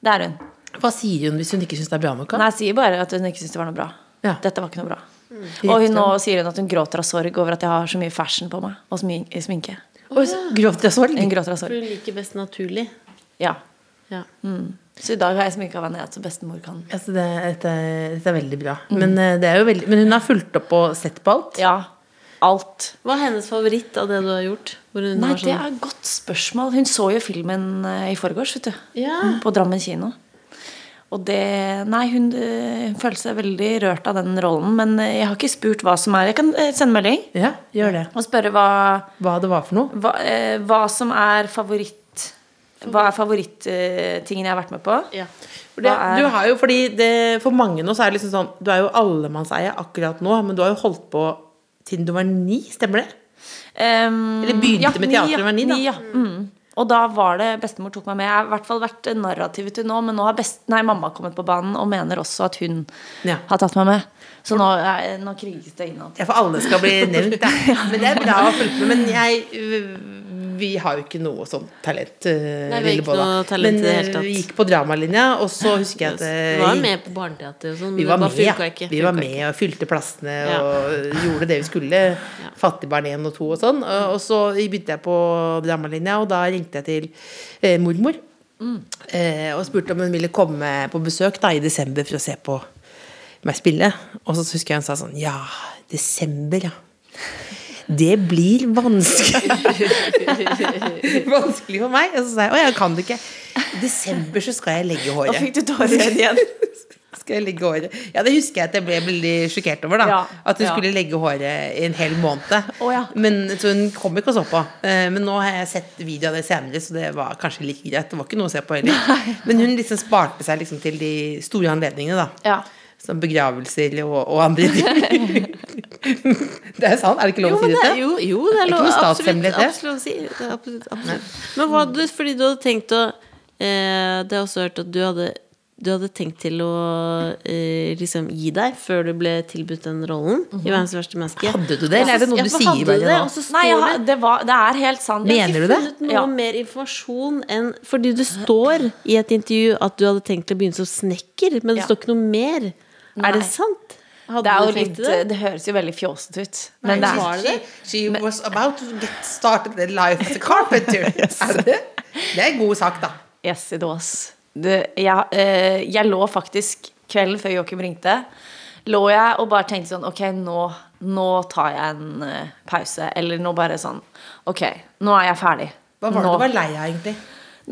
Det er hun. Hva sier hun hvis hun ikke syns det er bra nok? da? Nei, jeg sier bare at hun ikke syntes det var noe bra. Ja. Dette var ikke noe bra. Direkte. Og hun nå sier hun at hun gråter av sorg over at jeg har så mye fashion på meg, og smi- sminke. Oi, så Gråter jeg sorg? Hun gråter av For sorg. hun liker best naturlig. Ja. Mm. Ja. Så i dag har jeg sminka Vanet som bestemor kan. Altså, det, dette, dette er veldig bra. Men, eh, det er jo veldig, men hun har fulgt opp og sett på alt. Ja. Alt. Hva er hennes favoritt av det du har gjort? Hvor hun Nei, var det sånn, er et godt spørsmål. Hun så jo filmen eh, i forgårs, vet du. Mm, Ja. På Drammen kino. Og det Nei, hun, eh, hun følte seg veldig rørt av den rollen, men eh, jeg har ikke spurt hva som er Jeg kan eh, sende melding Ja, gjør det. og spørre hva, Hva det var for noe. hva, eh, hva som er favoritt Hva er favorittingen jeg har vært med på? ja. For, det, Hva er- du har jo, fordi det, for mange nå så er det liksom sånn Du er jo allemannseie akkurat nå, men du har jo holdt på siden du var ni, stemmer det? Ehm, Eller begynte med ni, teater da du var ni, da. ja. Mm. Og da var det bestemor tok meg med. Jeg har i hvert fall vært narrativet til nå, men nå har best, nei, mamma kommet på banen og mener også at hun Ja. har tatt meg med. Så nå, er- nå kriges det innad. Ja, for alle skal bli nevnt, da. Men det er bra å følge med. Men jeg øh, Vi har jo ikke noe sånn talent. Nei, vi øh, har ikke Lillebolla. noe talent i men det hele øh, tatt. vi gikk på dramalinja, og så husker jeg at øh, Vi var med på barneteater og sånn. men Vi var det med, bare ja. funka ikke. vi var Funka med og fylte plassene Ja. og gjorde det vi skulle. Fattigbarn 1 og 2 og sånn. Og og så begynte jeg på Drammalinja, og da ringte jeg til eh, mormor. Mm. Eh, og spurte om hun ville komme på besøk da, i desember for å se på meg spille. Og så husker jeg hun sa sånn Ja, desember, ja. Det blir <laughs> vanskelig. vanskelig for meg. Og så sa jeg å, jeg kan det ikke. I desember så skal jeg legge håret. Fikk du tårer i øynene igjen? <laughs> Skal jeg legge håret Ja, det husker jeg at jeg ble veldig sjokkert over, da. Ja, at hun ja. skulle legge håret i en hel måned. Å, ja. Men, så hun kom ikke og så på. Eh, Men nå har jeg sett video av det senere, så det var kanskje like greit. Det var ikke noe å se på heller. Men hun liksom sparte seg liksom til de store anledningene, da. Ja. Som begravelser og, og andre ting. <laughs> det er sant, er det ikke lov å men si det, dette? jo, jo, det er lov. ikke noe Absolutt. statshemmelighet, det. absolutt, å si. Det er absolutt, absolutt. Men hva hadde du Fordi du hadde tenkt å eh, Det har jeg også hørt at du hadde du hadde tenkt til å eh, liksom gi deg før du ble tilbudt den rollen i 'Verdens verste menneske'. Hadde du det, eller er det noe Ja, du for sier hadde bare du det, nå? og så står Nei, jeg, har- det- det, var, det er helt sant. Men- Mener du det? Jeg har ikke funnet noe Ja. mer informasjon enn Fordi det står i et intervju at du hadde tenkt å begynne som snekker, men det Ja. står ikke noe mer. Er det sant? Hadde Det, er jo du litt, tenkt eh, det? det høres jo veldig fjåsete ut. Men det var er, det det? She was about to get started in life as a carpenter. <laughs> Er det det? Det er god sak, da. Yes, it was. Det, jeg, eh, jeg lå faktisk kvelden før Joakim ringte, lå jeg og bare tenkte sånn Ok, nå, nå tar jeg en eh, pause. Eller nå bare sånn Ok, nå er jeg ferdig. Hva var det Nå- du var lei av, egentlig?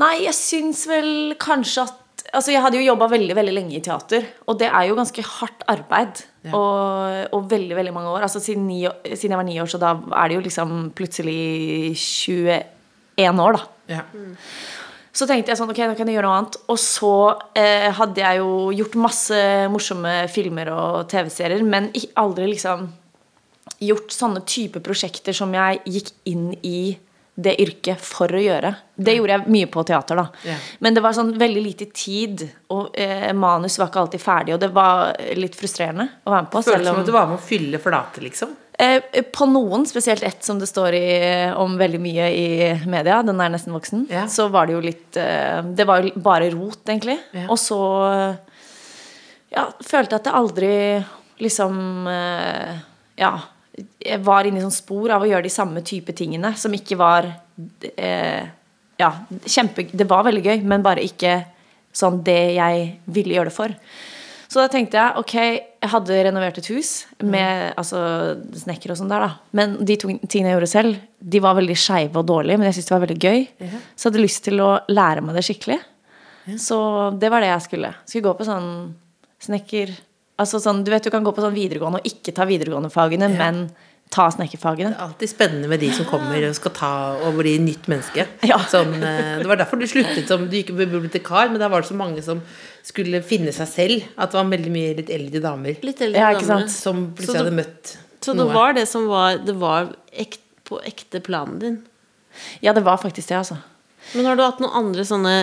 Nei, jeg syns vel kanskje at Altså, jeg hadde jo jobba veldig veldig lenge i teater, og det er jo ganske hardt arbeid. Og, og veldig veldig mange år. Altså siden, ni, år- siden jeg var ni år, så da er det jo liksom plutselig 21 år, da. Ja. Så tenkte jeg sånn, ok, nå kan jeg gjøre noe annet. Og så eh, hadde jeg jo gjort masse morsomme filmer og TV-serier, men i- aldri liksom gjort sånne type prosjekter som jeg gikk inn i det yrket for å gjøre. Det gjorde jeg mye på teater, da. Ja. Men det var sånn veldig lite tid, og eh, manus var ikke alltid ferdig, og det var litt frustrerende å være med på. Føltes selv som om- at du var med å fylle flate, liksom. Eh, På noen, spesielt ett som det står i, eh, om veldig mye i media, den er nesten voksen, Ja. så var det jo litt eh, Det var jo bare rot, egentlig. Ja. Og så eh, ja, følte jeg at jeg aldri liksom eh, Ja. Jeg var inne i sånn spor av å gjøre de samme type tingene som ikke var eh, Ja, kjempe Det var veldig gøy, men bare ikke sånn det jeg ville gjøre det for. Så da tenkte jeg ok, jeg hadde renovert et hus med altså, snekker og sånn der, da. Men de to tingene jeg gjorde selv, de var veldig skeive og dårlige, men jeg syntes det var veldig gøy. Så jeg hadde lyst til å lære meg det skikkelig. Så det var det jeg skulle. Skulle gå på sånn snekker Altså sånn, du vet du kan gå på sånn videregående og ikke ta videregående-fagene, men ta snekkerfagene. Alltid spennende med de som kommer og skal ta og bli nytt menneske. Ja. Sånn, eh, det var derfor du sluttet som Du gikk på bibliotekar, men da var det så mange som skulle finne seg selv. At det var veldig mye litt eldre damer Litt eldre Ja, ikke dame. sant? som plutselig Så du- hadde møtt Så det noe. var det som var Det var ekt, på ekte planen din. Ja, det var faktisk det, altså. Men har du hatt noen andre sånne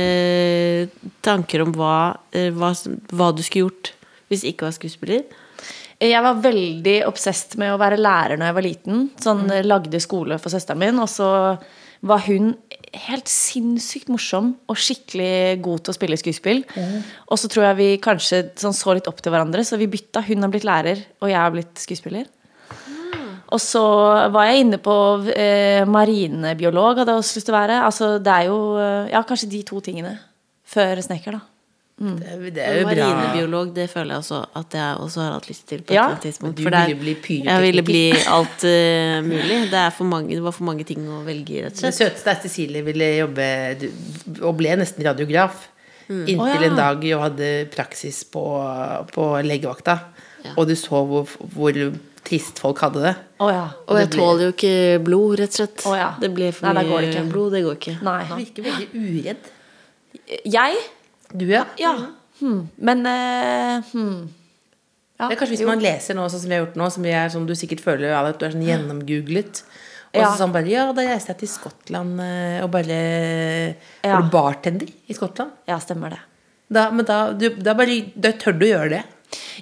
eh, tanker om hva, eh, hva, som- hva du skulle gjort hvis ikke var skuespiller? Jeg var veldig obsesst med å være lærer når jeg var liten. Sånn eh, Lagde skole for søsteren min. Og så var hun helt sinnssykt morsom og skikkelig god til å spille skuespill. Og så tror jeg vi kanskje sånn, så litt opp til hverandre, så vi bytta. Hun har blitt lærer, og jeg har blitt skuespiller. Og så var jeg inne på eh, marinebiolog, hadde jeg også lyst til å være. Altså, det er jo eh, ja, kanskje de to tingene før snekker, da. Det, det er jo bra. Marinebiolog, det føler jeg også at jeg også har hatt lyst til. på et Ja. eller annet tidspunkt Du for det er- ville bli pyrotekniker. Jeg ville bli alt eh, mulig. Det, er for mange, det var for mange ting å velge i, rett og Den slett. søteste er Cecilie ville jobbe du- og ble nesten radiograf. Inntil Å, ja. en dag hun hadde praksis på, på legevakta, og du så hvor, hvor trist folk hadde det. Å ja. Og jeg tåler jo ikke blod, rett og slett. Å, ja. Det blir for Nei, mye da går det ikke. blod. Det går ikke. Du Nei. virker veldig uredd. Jeg Du, ja. Ja. Hmm. Men eh, hmm. ja. Det er kanskje hvis jo. man leser nå, sånn som vi har gjort nå, som, vi er, som du sikkert føler ja, at du er sånn gjennomgooglet. Og Ja. så sånn bare Ja, da reiste jeg til Skottland eh, og bare Ja. Var du bartender i Skottland? Ja, stemmer det. Da, men da, du, da, bare, da tør du å gjøre det.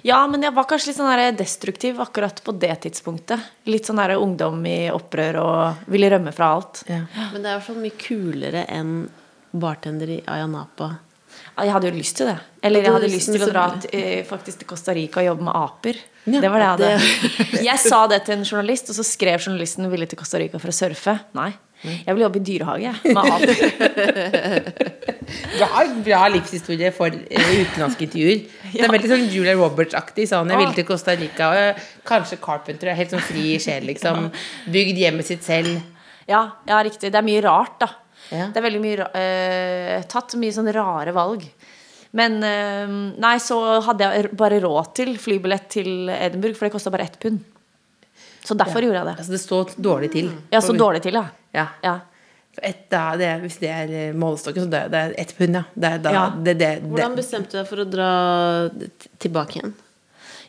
Ja, men jeg var kanskje litt sånn der destruktiv akkurat på det tidspunktet. Litt sånn der ungdom i opprør og ville rømme fra alt. Men det er i hvert fall mye kulere enn bartender i Ayanapa. Ja, Jeg hadde jo lyst til det. Eller jeg Hadde du hadde lyst lyst til å liksom til dra å- til, eh, faktisk til Costa Rica og jobbe med aper. det var det jeg hadde. Jeg sa det til en journalist, og så skrev journalisten 'ville til Costa Rica for å surfe'. Nei. Jeg vil jobbe i dyrehage, jeg. Med aper. Bra, bra livshistorie for eh, utenlandske intervjuer. Det er veldig sånn Julia Roberts-aktig. Sånn, jeg ville til Costa Rica. Og, eh, kanskje Carpenter er helt sånn fri sjel, <laughs> liksom. Bygd hjemmet sitt selv. Ja, ja, riktig. Det er mye rart, da. Ja. Det er veldig mye ra- eh, Tatt mye sånn rare valg. Men eh, nei, så hadde jeg r- bare råd til flybillett til Edinburgh, for det kosta bare ett pund. Så derfor gjorde jeg det. Altså, det står dårlig til. Jeg så dårlig til, ja. Ja. ja. For ett, da, det er, hvis det er eh, målestokken, så det er det er ett pund, ja. Det er da, Ja. Det, det, det. Hvordan bestemte du deg for å dra t- tilbake igjen?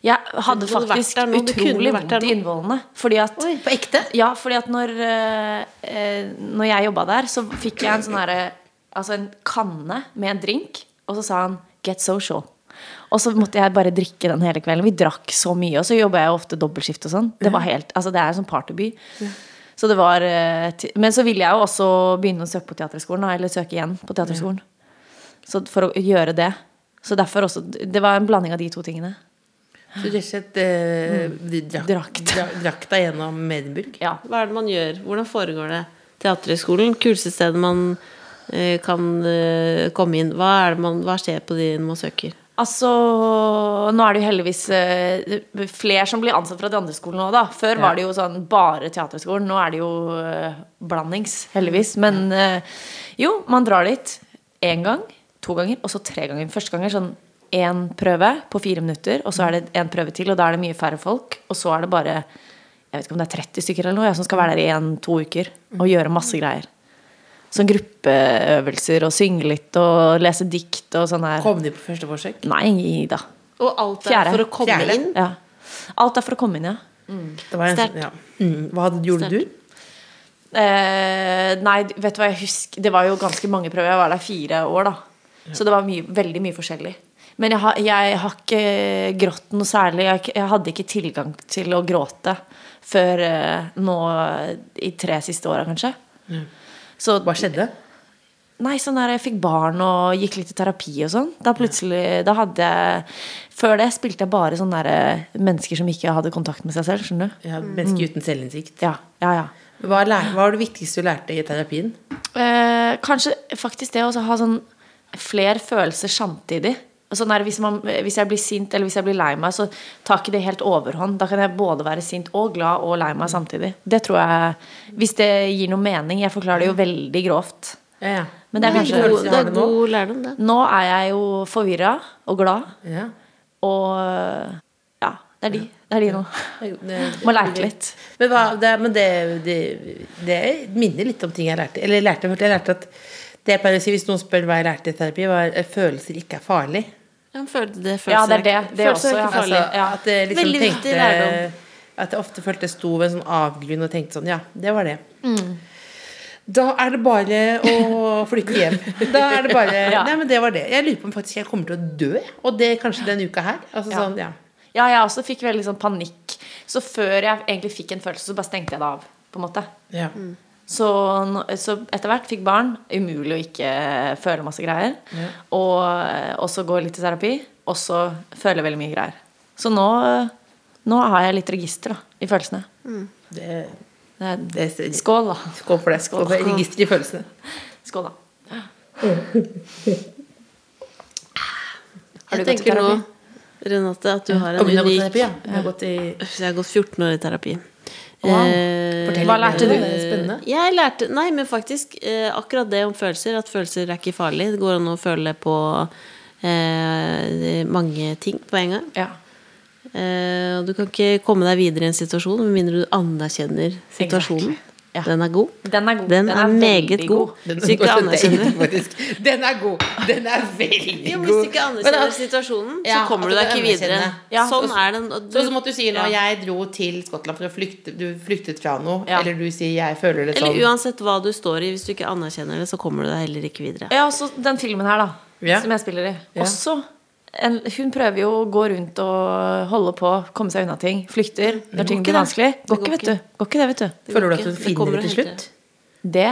Jeg Du hadde kunne faktisk vært der nå, du kunne utrolig vært der vondt i nå. innvollene. Fordi at, Oi, på ekte? Ja, fordi at når, eh, eh, når jeg jobba der, så fikk jeg en sånn herre Altså en kanne med en drink, og så sa han 'get social'. Og så måtte jeg bare drikke den hele kvelden. Vi drakk så mye. Og så jobba jeg jo ofte dobbeltskift og sånn. Det var helt, altså det er en sånn partyby. Så det var eh, ti- Men så ville jeg jo også begynne å søke på Teaterskolen, da, eller søke igjen på Teaterskolen. Så for å gjøre det. Så derfor også Det var en blanding av de to tingene. Så du rett og slett eh, drakk, Drakt. dra- drakk deg gjennom Medinburg? Ja. Hva er det man gjør? Hvordan foregår det? Teaterhøgskolen, kuleste stedet man eh, kan eh, komme inn. Hva, er det man, hva skjer på de når man søker? Altså, nå er det jo heldigvis eh, flere som blir ansatt fra de andre skolene òg, da. Før var det jo sånn bare teaterskolen. Nå er det jo eh, blandings, heldigvis. Men eh, jo, man drar dit én gang, to ganger, og så tre ganger. Første gang er sånn én prøve på fire minutter, og så er det én prøve til, og da er det mye færre folk. Og så er det bare jeg vet ikke om det er 30 stykker eller noe, jeg, som skal være der i en-to uker og gjøre masse greier. Sånn gruppeøvelser og synge litt og lese dikt og sånn her. Kom du på første forsøk? Nei da. Og alt er Fjerde. for å komme Fjerde. inn. Ja. Alt er for å komme inn, ja. Det var en- Sterkt. Ja. Mm. Hva hadde, gjorde du? Eh, nei, vet du hva jeg husker Det var jo ganske mange prøver. Jeg var der fire år, da. Så det var mye, veldig mye forskjellig. Men jeg, har- jeg har ikke grått noe særlig. Jeg, har ikke- jeg hadde ikke tilgang til å gråte før eh, nå i tre siste åra, kanskje. Så Hva skjedde? Nei, sånn der jeg fikk barn og gikk litt i terapi og sånn. Da plutselig, da hadde jeg Før det spilte jeg bare sånne der eh, mennesker som ikke hadde kontakt med seg selv, skjønner du. Ja, mennesker uten selvinnsikt. Ja, ja, ja. Hva, lær, hva var det viktigste du lærte i terapien? Eh, kanskje faktisk det å så ha sånn flere følelser samtidig. Sånn er, det hvis, man, hvis jeg blir sint eller hvis jeg blir lei meg, så tar ikke det helt overhånd. Da kan jeg både være sint og glad og lei meg samtidig. Det tror jeg Hvis det gir noe mening. Jeg forklarer det jo veldig grovt. Ja, ja. Men det er Hvilken kanskje følelse Det har er du nå? god lærdom, det. Nå er jeg jo forvirra og glad. Ja. Og ja, det er de. Det er de nå. Det- Må leke litt. Men, hva, det, men det, det, det minner litt om ting jeg lærte. Eller lærte, jeg lærte at det jeg pleier å si hvis noen spør hva jeg lærte i terapi, var at følelser ikke er farlig. Jeg følte det følelser Ja, det er det. ikke- Det følelser også, ikke ja. farlig. Altså, ja. at jeg liksom Veldig viktig tenkte lærdom. At jeg ofte følte jeg sto ved en sånn avgrunn og tenkte sånn Ja, det var det. Da er det bare å flytte hjem. Da er det bare Nei, men det var det. Jeg lurer på om faktisk jeg kommer til å dø, og det kanskje denne uka her. Altså sånn, ja. Ja, jeg også fikk veldig sånn panikk. Så før jeg egentlig fikk en følelse, så bare stengte jeg det av. på en måte. ja. Så, nå- så etter hvert fikk barn. Umulig å ikke føle masse greier. Og eh, også gå litt i terapi. Og så føle veldig mye greier. Så nå, nå har jeg litt register da, i følelsene. Mm. Det, Det er, det, skål, da. skål for det. Skål for registeret i følelsene. Skål, da. du gått Jeg i tenker nå, Renate, at du har en Om hun har gått i terapi, unik ja. Hun har gått i Så jeg har gått 14 år i terapi. Eh, Fortell Hva litt lærte mer du? om det. Spennende. Jeg lærte Nei, men faktisk eh, akkurat det om følelser. At følelser er ikke farlig. Det går an å føle på eh, mange ting på en gang. Ja. Eh, og du kan ikke komme deg videre i en situasjon med mindre du anerkjenner situasjonen. Ja. Den er god. Den er god. Den er meget veldig god. Den, Hvis du ikke anerkjenner <laughs> faktisk. den er god! Den er Jo, veldig god. men hvis du ikke Men anerkjenner at- situasjonen, så Ja, kommer at du deg du ikke videre. anerkjenner. Ja. Sånn er den. og Så som at du sier nå Ja. 'jeg dro til Skottland for å flykte', du flyktet fra noe. Ja. Eller du sier 'jeg føler det Eller sånn'. uansett hva du står i, hvis du ikke anerkjenner det, så kommer du deg heller ikke videre. Ja, også den filmen her, da. Ja. Som jeg spiller i. Ja. Også en, Hun prøver jo å gå rundt og holde på, komme seg unna ting. Flykter når ting ikke blir det. vanskelig. Går går ikke, vet du. Går ikke det, vet du. Føler du at ikke. du Det finner kommer det til og henter. slutt? Det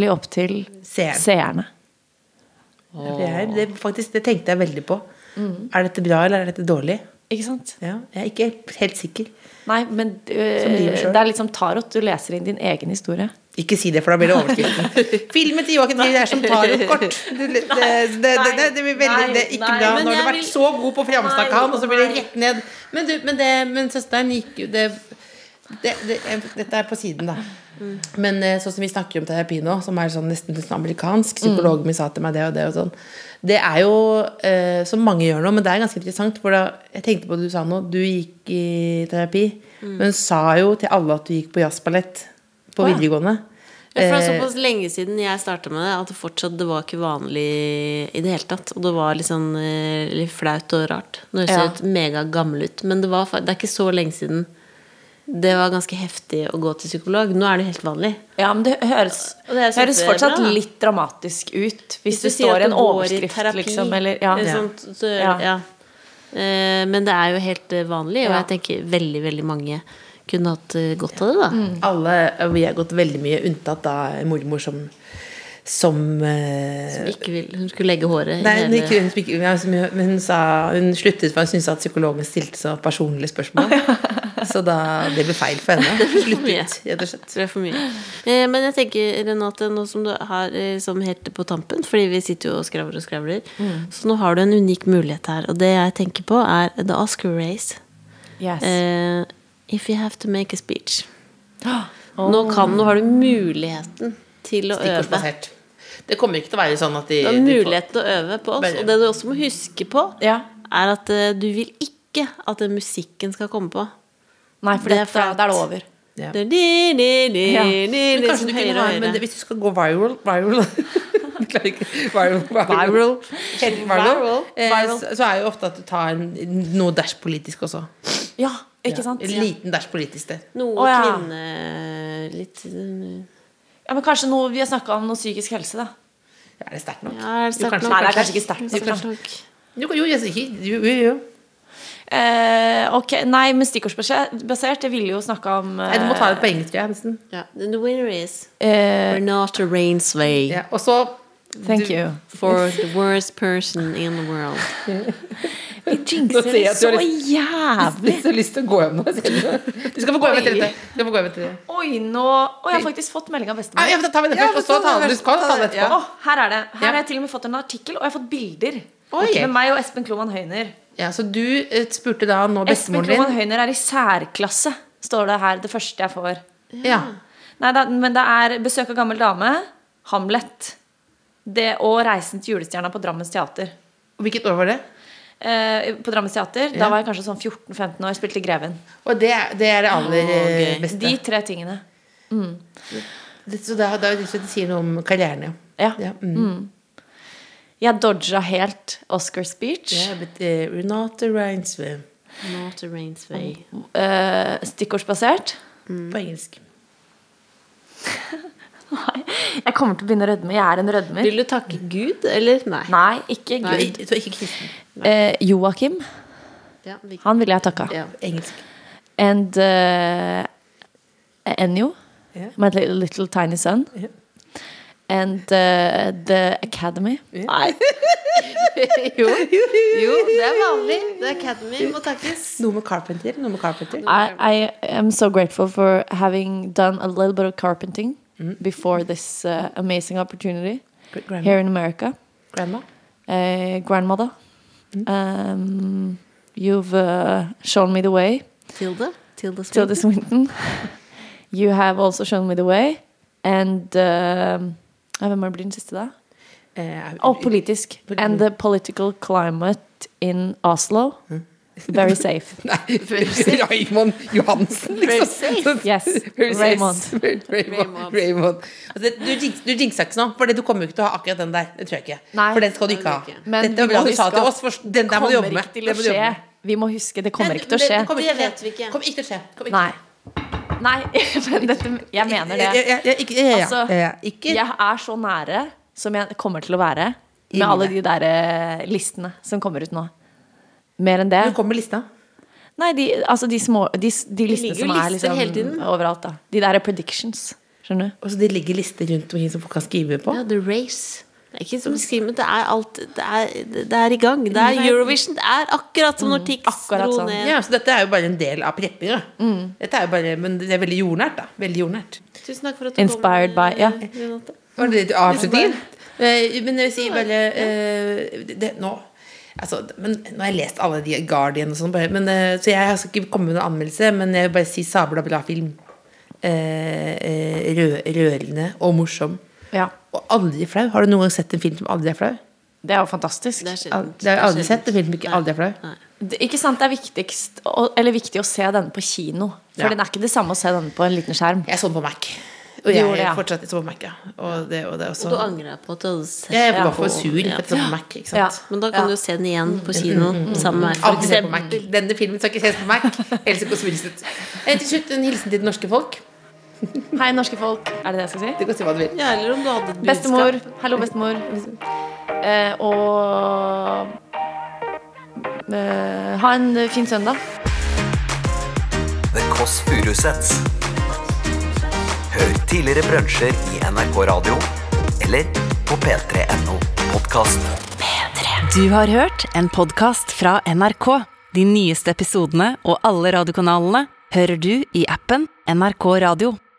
blir opp til Seeren. seerne. Det, er, det, er faktisk, det tenkte jeg veldig på. Er dette bra, eller er dette dårlig? Ikke sant? Ja, jeg er ikke helt sikker. Nei, men Som øh, livet selv. det er litt som tarot. Du leser inn din egen historie. Ikke si det, for da blir det overskriften. Filmen til Joakim Trier er som tarotkort. Det, det, det, det, det, det blir veldig det er ikke nei, bra. men Nå har du jeg vært vil- så god på å framsnakke Nei, han, og så blir det rett ned. Men, du, men, det, men søsteren gikk jo det, det, det, Dette er på siden, da. Mm. Men eh, sånn som vi snakker om terapi nå, som er sånn nesten litt sånn amerikansk Mm. Psykologen min sa til meg det og det og sånn. Det er jo, eh, som mange gjør nå, men det er ganske interessant. For da, jeg tenkte på det du sa nå. Du gikk i terapi, Mm. men sa jo til alle at du gikk på jazzballett på videregående. Ja, for det er Eh, såpass lenge siden jeg starta med det, at det fortsatt det var ikke vanlig i det hele tatt. Og det var litt sånn eh, litt flaut og rart. Nå høres jeg ut megagammel ut, men det, var, fa- det er ikke så lenge siden. Det var ganske heftig å gå til psykolog. Nå er det helt vanlig. Ja, men det høres, Og det er høres kjempebra, fortsatt da. litt dramatisk ut. Hvis, det sier står at en du går i overskrift, terapi, liksom. Eller, ja. eller Ja. sånt, så, Ja. ja. Eh, Men det er jo helt eh, vanlig, og Ja. jeg tenker veldig, veldig mange kunne hatt eh, godt av det, da. Mm. Alle, og vi har gått veldig mye unntatt da mormor som som, eh, Som ikke vil, hun skulle legge håret Nei, hun, i ikke, hun, ikke, ja, som, hun, hun sa Hun sluttet for hun syntes at psykologen stilte så personlige spørsmål. Så da Det ble feil for henne. Sluttet, rett og slett. tror jeg er for mye. Eh, men jeg tenker, Renate, nå som du har eh, liksom helt på tampen, fordi vi sitter jo og skravler og skravler, Mm. så nå har du en unik mulighet her. Og det jeg tenker på, er The Oscar Race. Yes. Eh, if you have to make a speech. Nå, kan, nå har du muligheten til å øve. Stikkordsbasert. Det kommer ikke til å være sånn at de, Du har de får- muligheten til å øve på oss. Bare- Og det du også må huske på, <gasps> Ja. er at eh, du vil ikke at den musikken skal komme på. Nei, for det det er da, flaut. da er det over. Ja. Det er di, di, di, Ja. di, Men di, kanskje sånn du kunne høyere og ha men høyere. det, Hvis du skal gå viral Viral <laughs> Beklager ikke. Viral, Viral. Helt viral. Viral. Eh, Viral. Så, så er jo ofte at du tar en, noe dash politisk også. Ja, ikke sant? En liten dash politisk der. Noe Å, ja. kvinne... Litt eh, Ja, Ja, men kanskje noe, vi har snakka om noe psykisk helse, da. Er det sterkt nok? er det Jo, sterkt kanskje- nok? Nei, det er kanskje ikke sterkt nok, Det er sterkt nok. Jo, jo, jeg sier ikke- jo, jo, jo. Eh, ok, Nei, men stikkordsbasert Jeg ville jo snakka om eh, Nei, du må ta det på engelsk, tror jeg. Nesten. Ja. The winner is eh, Renata Rainsway Ja. Og så Thank you. for the worst person in the world. Vi Nå jinxer ser jeg det at du så har <laughs> jævlig. Jeg har så lyst til å gå hjem nå. ser Du Du skal få gå hjem etter dette. Du skal få gå hjem etter det. Oi, nå Å, jeg har faktisk fått melding av Ja, bestemor. ja, men da tar vi det først, og så tar vi du skal ta det etterpå. Å, her er det. Her Ja. har jeg til og med fått en artikkel, og jeg har fått bilder. Oi. Med meg og Espen Kloman Høyner. Ja, så du eh, spurte da nå Espen bestemoren Kloman din? Høyner er i særklasse, står det her. Det første jeg får. Ja. Nei, da, men det er 'Besøk av gammel dame', 'Hamlet' det, og 'Reisen til julestjerna' på Drammens teater. Og Hvilket år var det? Eh, på Drammens teater, Da var jeg kanskje sånn 14-15 år, spilte Greven. Og det, er- det er det aller eh, Og beste. De tre tingene. Det- Så da, da, det sier noe om karrieren, ja. Ja. ja mm. Jeg dodga helt Oscar speech. Det er blitt eh, Renate eh, Reinsve Not a Rainsway. eh, stikkordsbasert. på engelsk. Nei, jeg kommer til å begynne å rødme. Jeg er en rødmer. Vil du takke Gud, eller? Nei. Nei, ikke Nei, Gud. så ikke kristen. Eh, Joakim. Ja, vi- Han ville jeg takka. Ja. Engelsk. And eh, Ennio. Ja. My little, little tiny son. Ja. And eh, The Academy. Nei. jo. jo, det er vanlig. The Academy må takkes. Noe med Carpenter. Noe med Carpenter. I, I am so grateful for having done a little bit of carpenting before this uh, amazing opportunity Gr- grandma. here in America. Grandma. uh, grandmother. Um, you've uh, shown me the way, Tilde. Tilde Tilda Swinton. Swinton. <laughs> you have also shown me the way. And um, ja, Hvem var det blir den siste, da? Eh, Oh, politisk. And the political climate in Oslo. Very safe. <laughs> Nei, Raymond Johansen, liksom. Sånn- Yes, <laughs> Very safe. Raymond. Raymond. Raymond. Altså, det- du, jinx, du jinxa ikke nå, for det, du kommer jo ikke til å ha akkurat den der. Det tror jeg ikke. Nei. for den skal du ikke ha. Nei, det gjør Men Dette var vi må bra du sa huske til at oss, for den der må du jobbe Kommer med. ikke til å Den må du jobbe skje. med. Vi må huske, det Men kommer ikke til å det- skje. det kommer Det ikke til å skje. vet vi ikke. Kommer ikke til å skje. Kommer ikke Nei. Nei, <laughs> men dette, jeg mener det. Jeg- jeg- jeg- ikke- ja, ja, Altså, ja, ja. Ikke- jeg er så nære som jeg kommer til å være med alle de der eh, listene som kommer ut nå. Mer enn det. Nå kommer lista. Nei, de, altså de små De, s- de listene ligger jo som er lister liksom hele tiden. overalt, da. De der predictions. Skjønner du? Og så det ligger lister rundt omkring som folk kan skrive på. Ja, The Race. Det er ikke som skriver, men det er alt Det er, det er i gang. Det er Eurovision. Det er akkurat som når Tix akkurat dro sånn. ned. Ja, så dette er jo bare en del av preppinga. Mm. Dette er jo bare, men det er veldig jordnært, da. Veldig jordnært. Tusen takk for at du Inspired kom. by Ja. Renate. Var det det avslutningen? Eh, Men jeg vil si bare eh, det, det, Nå Altså, men, nå har jeg lest alle de Guardian og sånn, bare, men, eh, så jeg skal ikke komme med noen anmeldelse, men jeg vil bare si sabla bra film. Eh, eh, rø, rørende og morsom. Ja. Og aldri flau. Har du noen gang sett en film som aldri er flau? Det er jo fantastisk. Det er Al- sjeldent. Det har jeg aldri sjeldent. sett en film som ikke aldri er flau. Det- Ikke sant, Det er viktigst, å- eller viktig å se denne på kino. For Ja. den er ikke det samme å se denne på en liten skjerm. Jeg så den på Mac. Du Og jeg gjorde det, ja. fortsatte så på Mac, ja. Og det, og det er Du også angrer på at du hadde sett Jeg den var på- for sur for at jeg så på Mac, ikke sant. Ja. Mm, Men da kan du se den igjen på kino sammen med meg. For Aldri se på Mac. eksempel. Denne filmen skal ikke ses på Mac. Else Kåss Wilseth. Eh, Til slutt en hilsen til det norske folk. Hei, norske folk. Er det det jeg skal si? Du kan si hva du vil. Ja, eller om du hadde et Bestemor. budskap. Hallo, bestemor. Eh, og eh, ha en fin søndag. The Kåss Furuseths. Hør tidligere brunsjer i NRK Radio eller på p3.no podkast. Du har hørt en podkast fra NRK. De nyeste episodene og alle radiokanalene hører du i appen NRK Radio.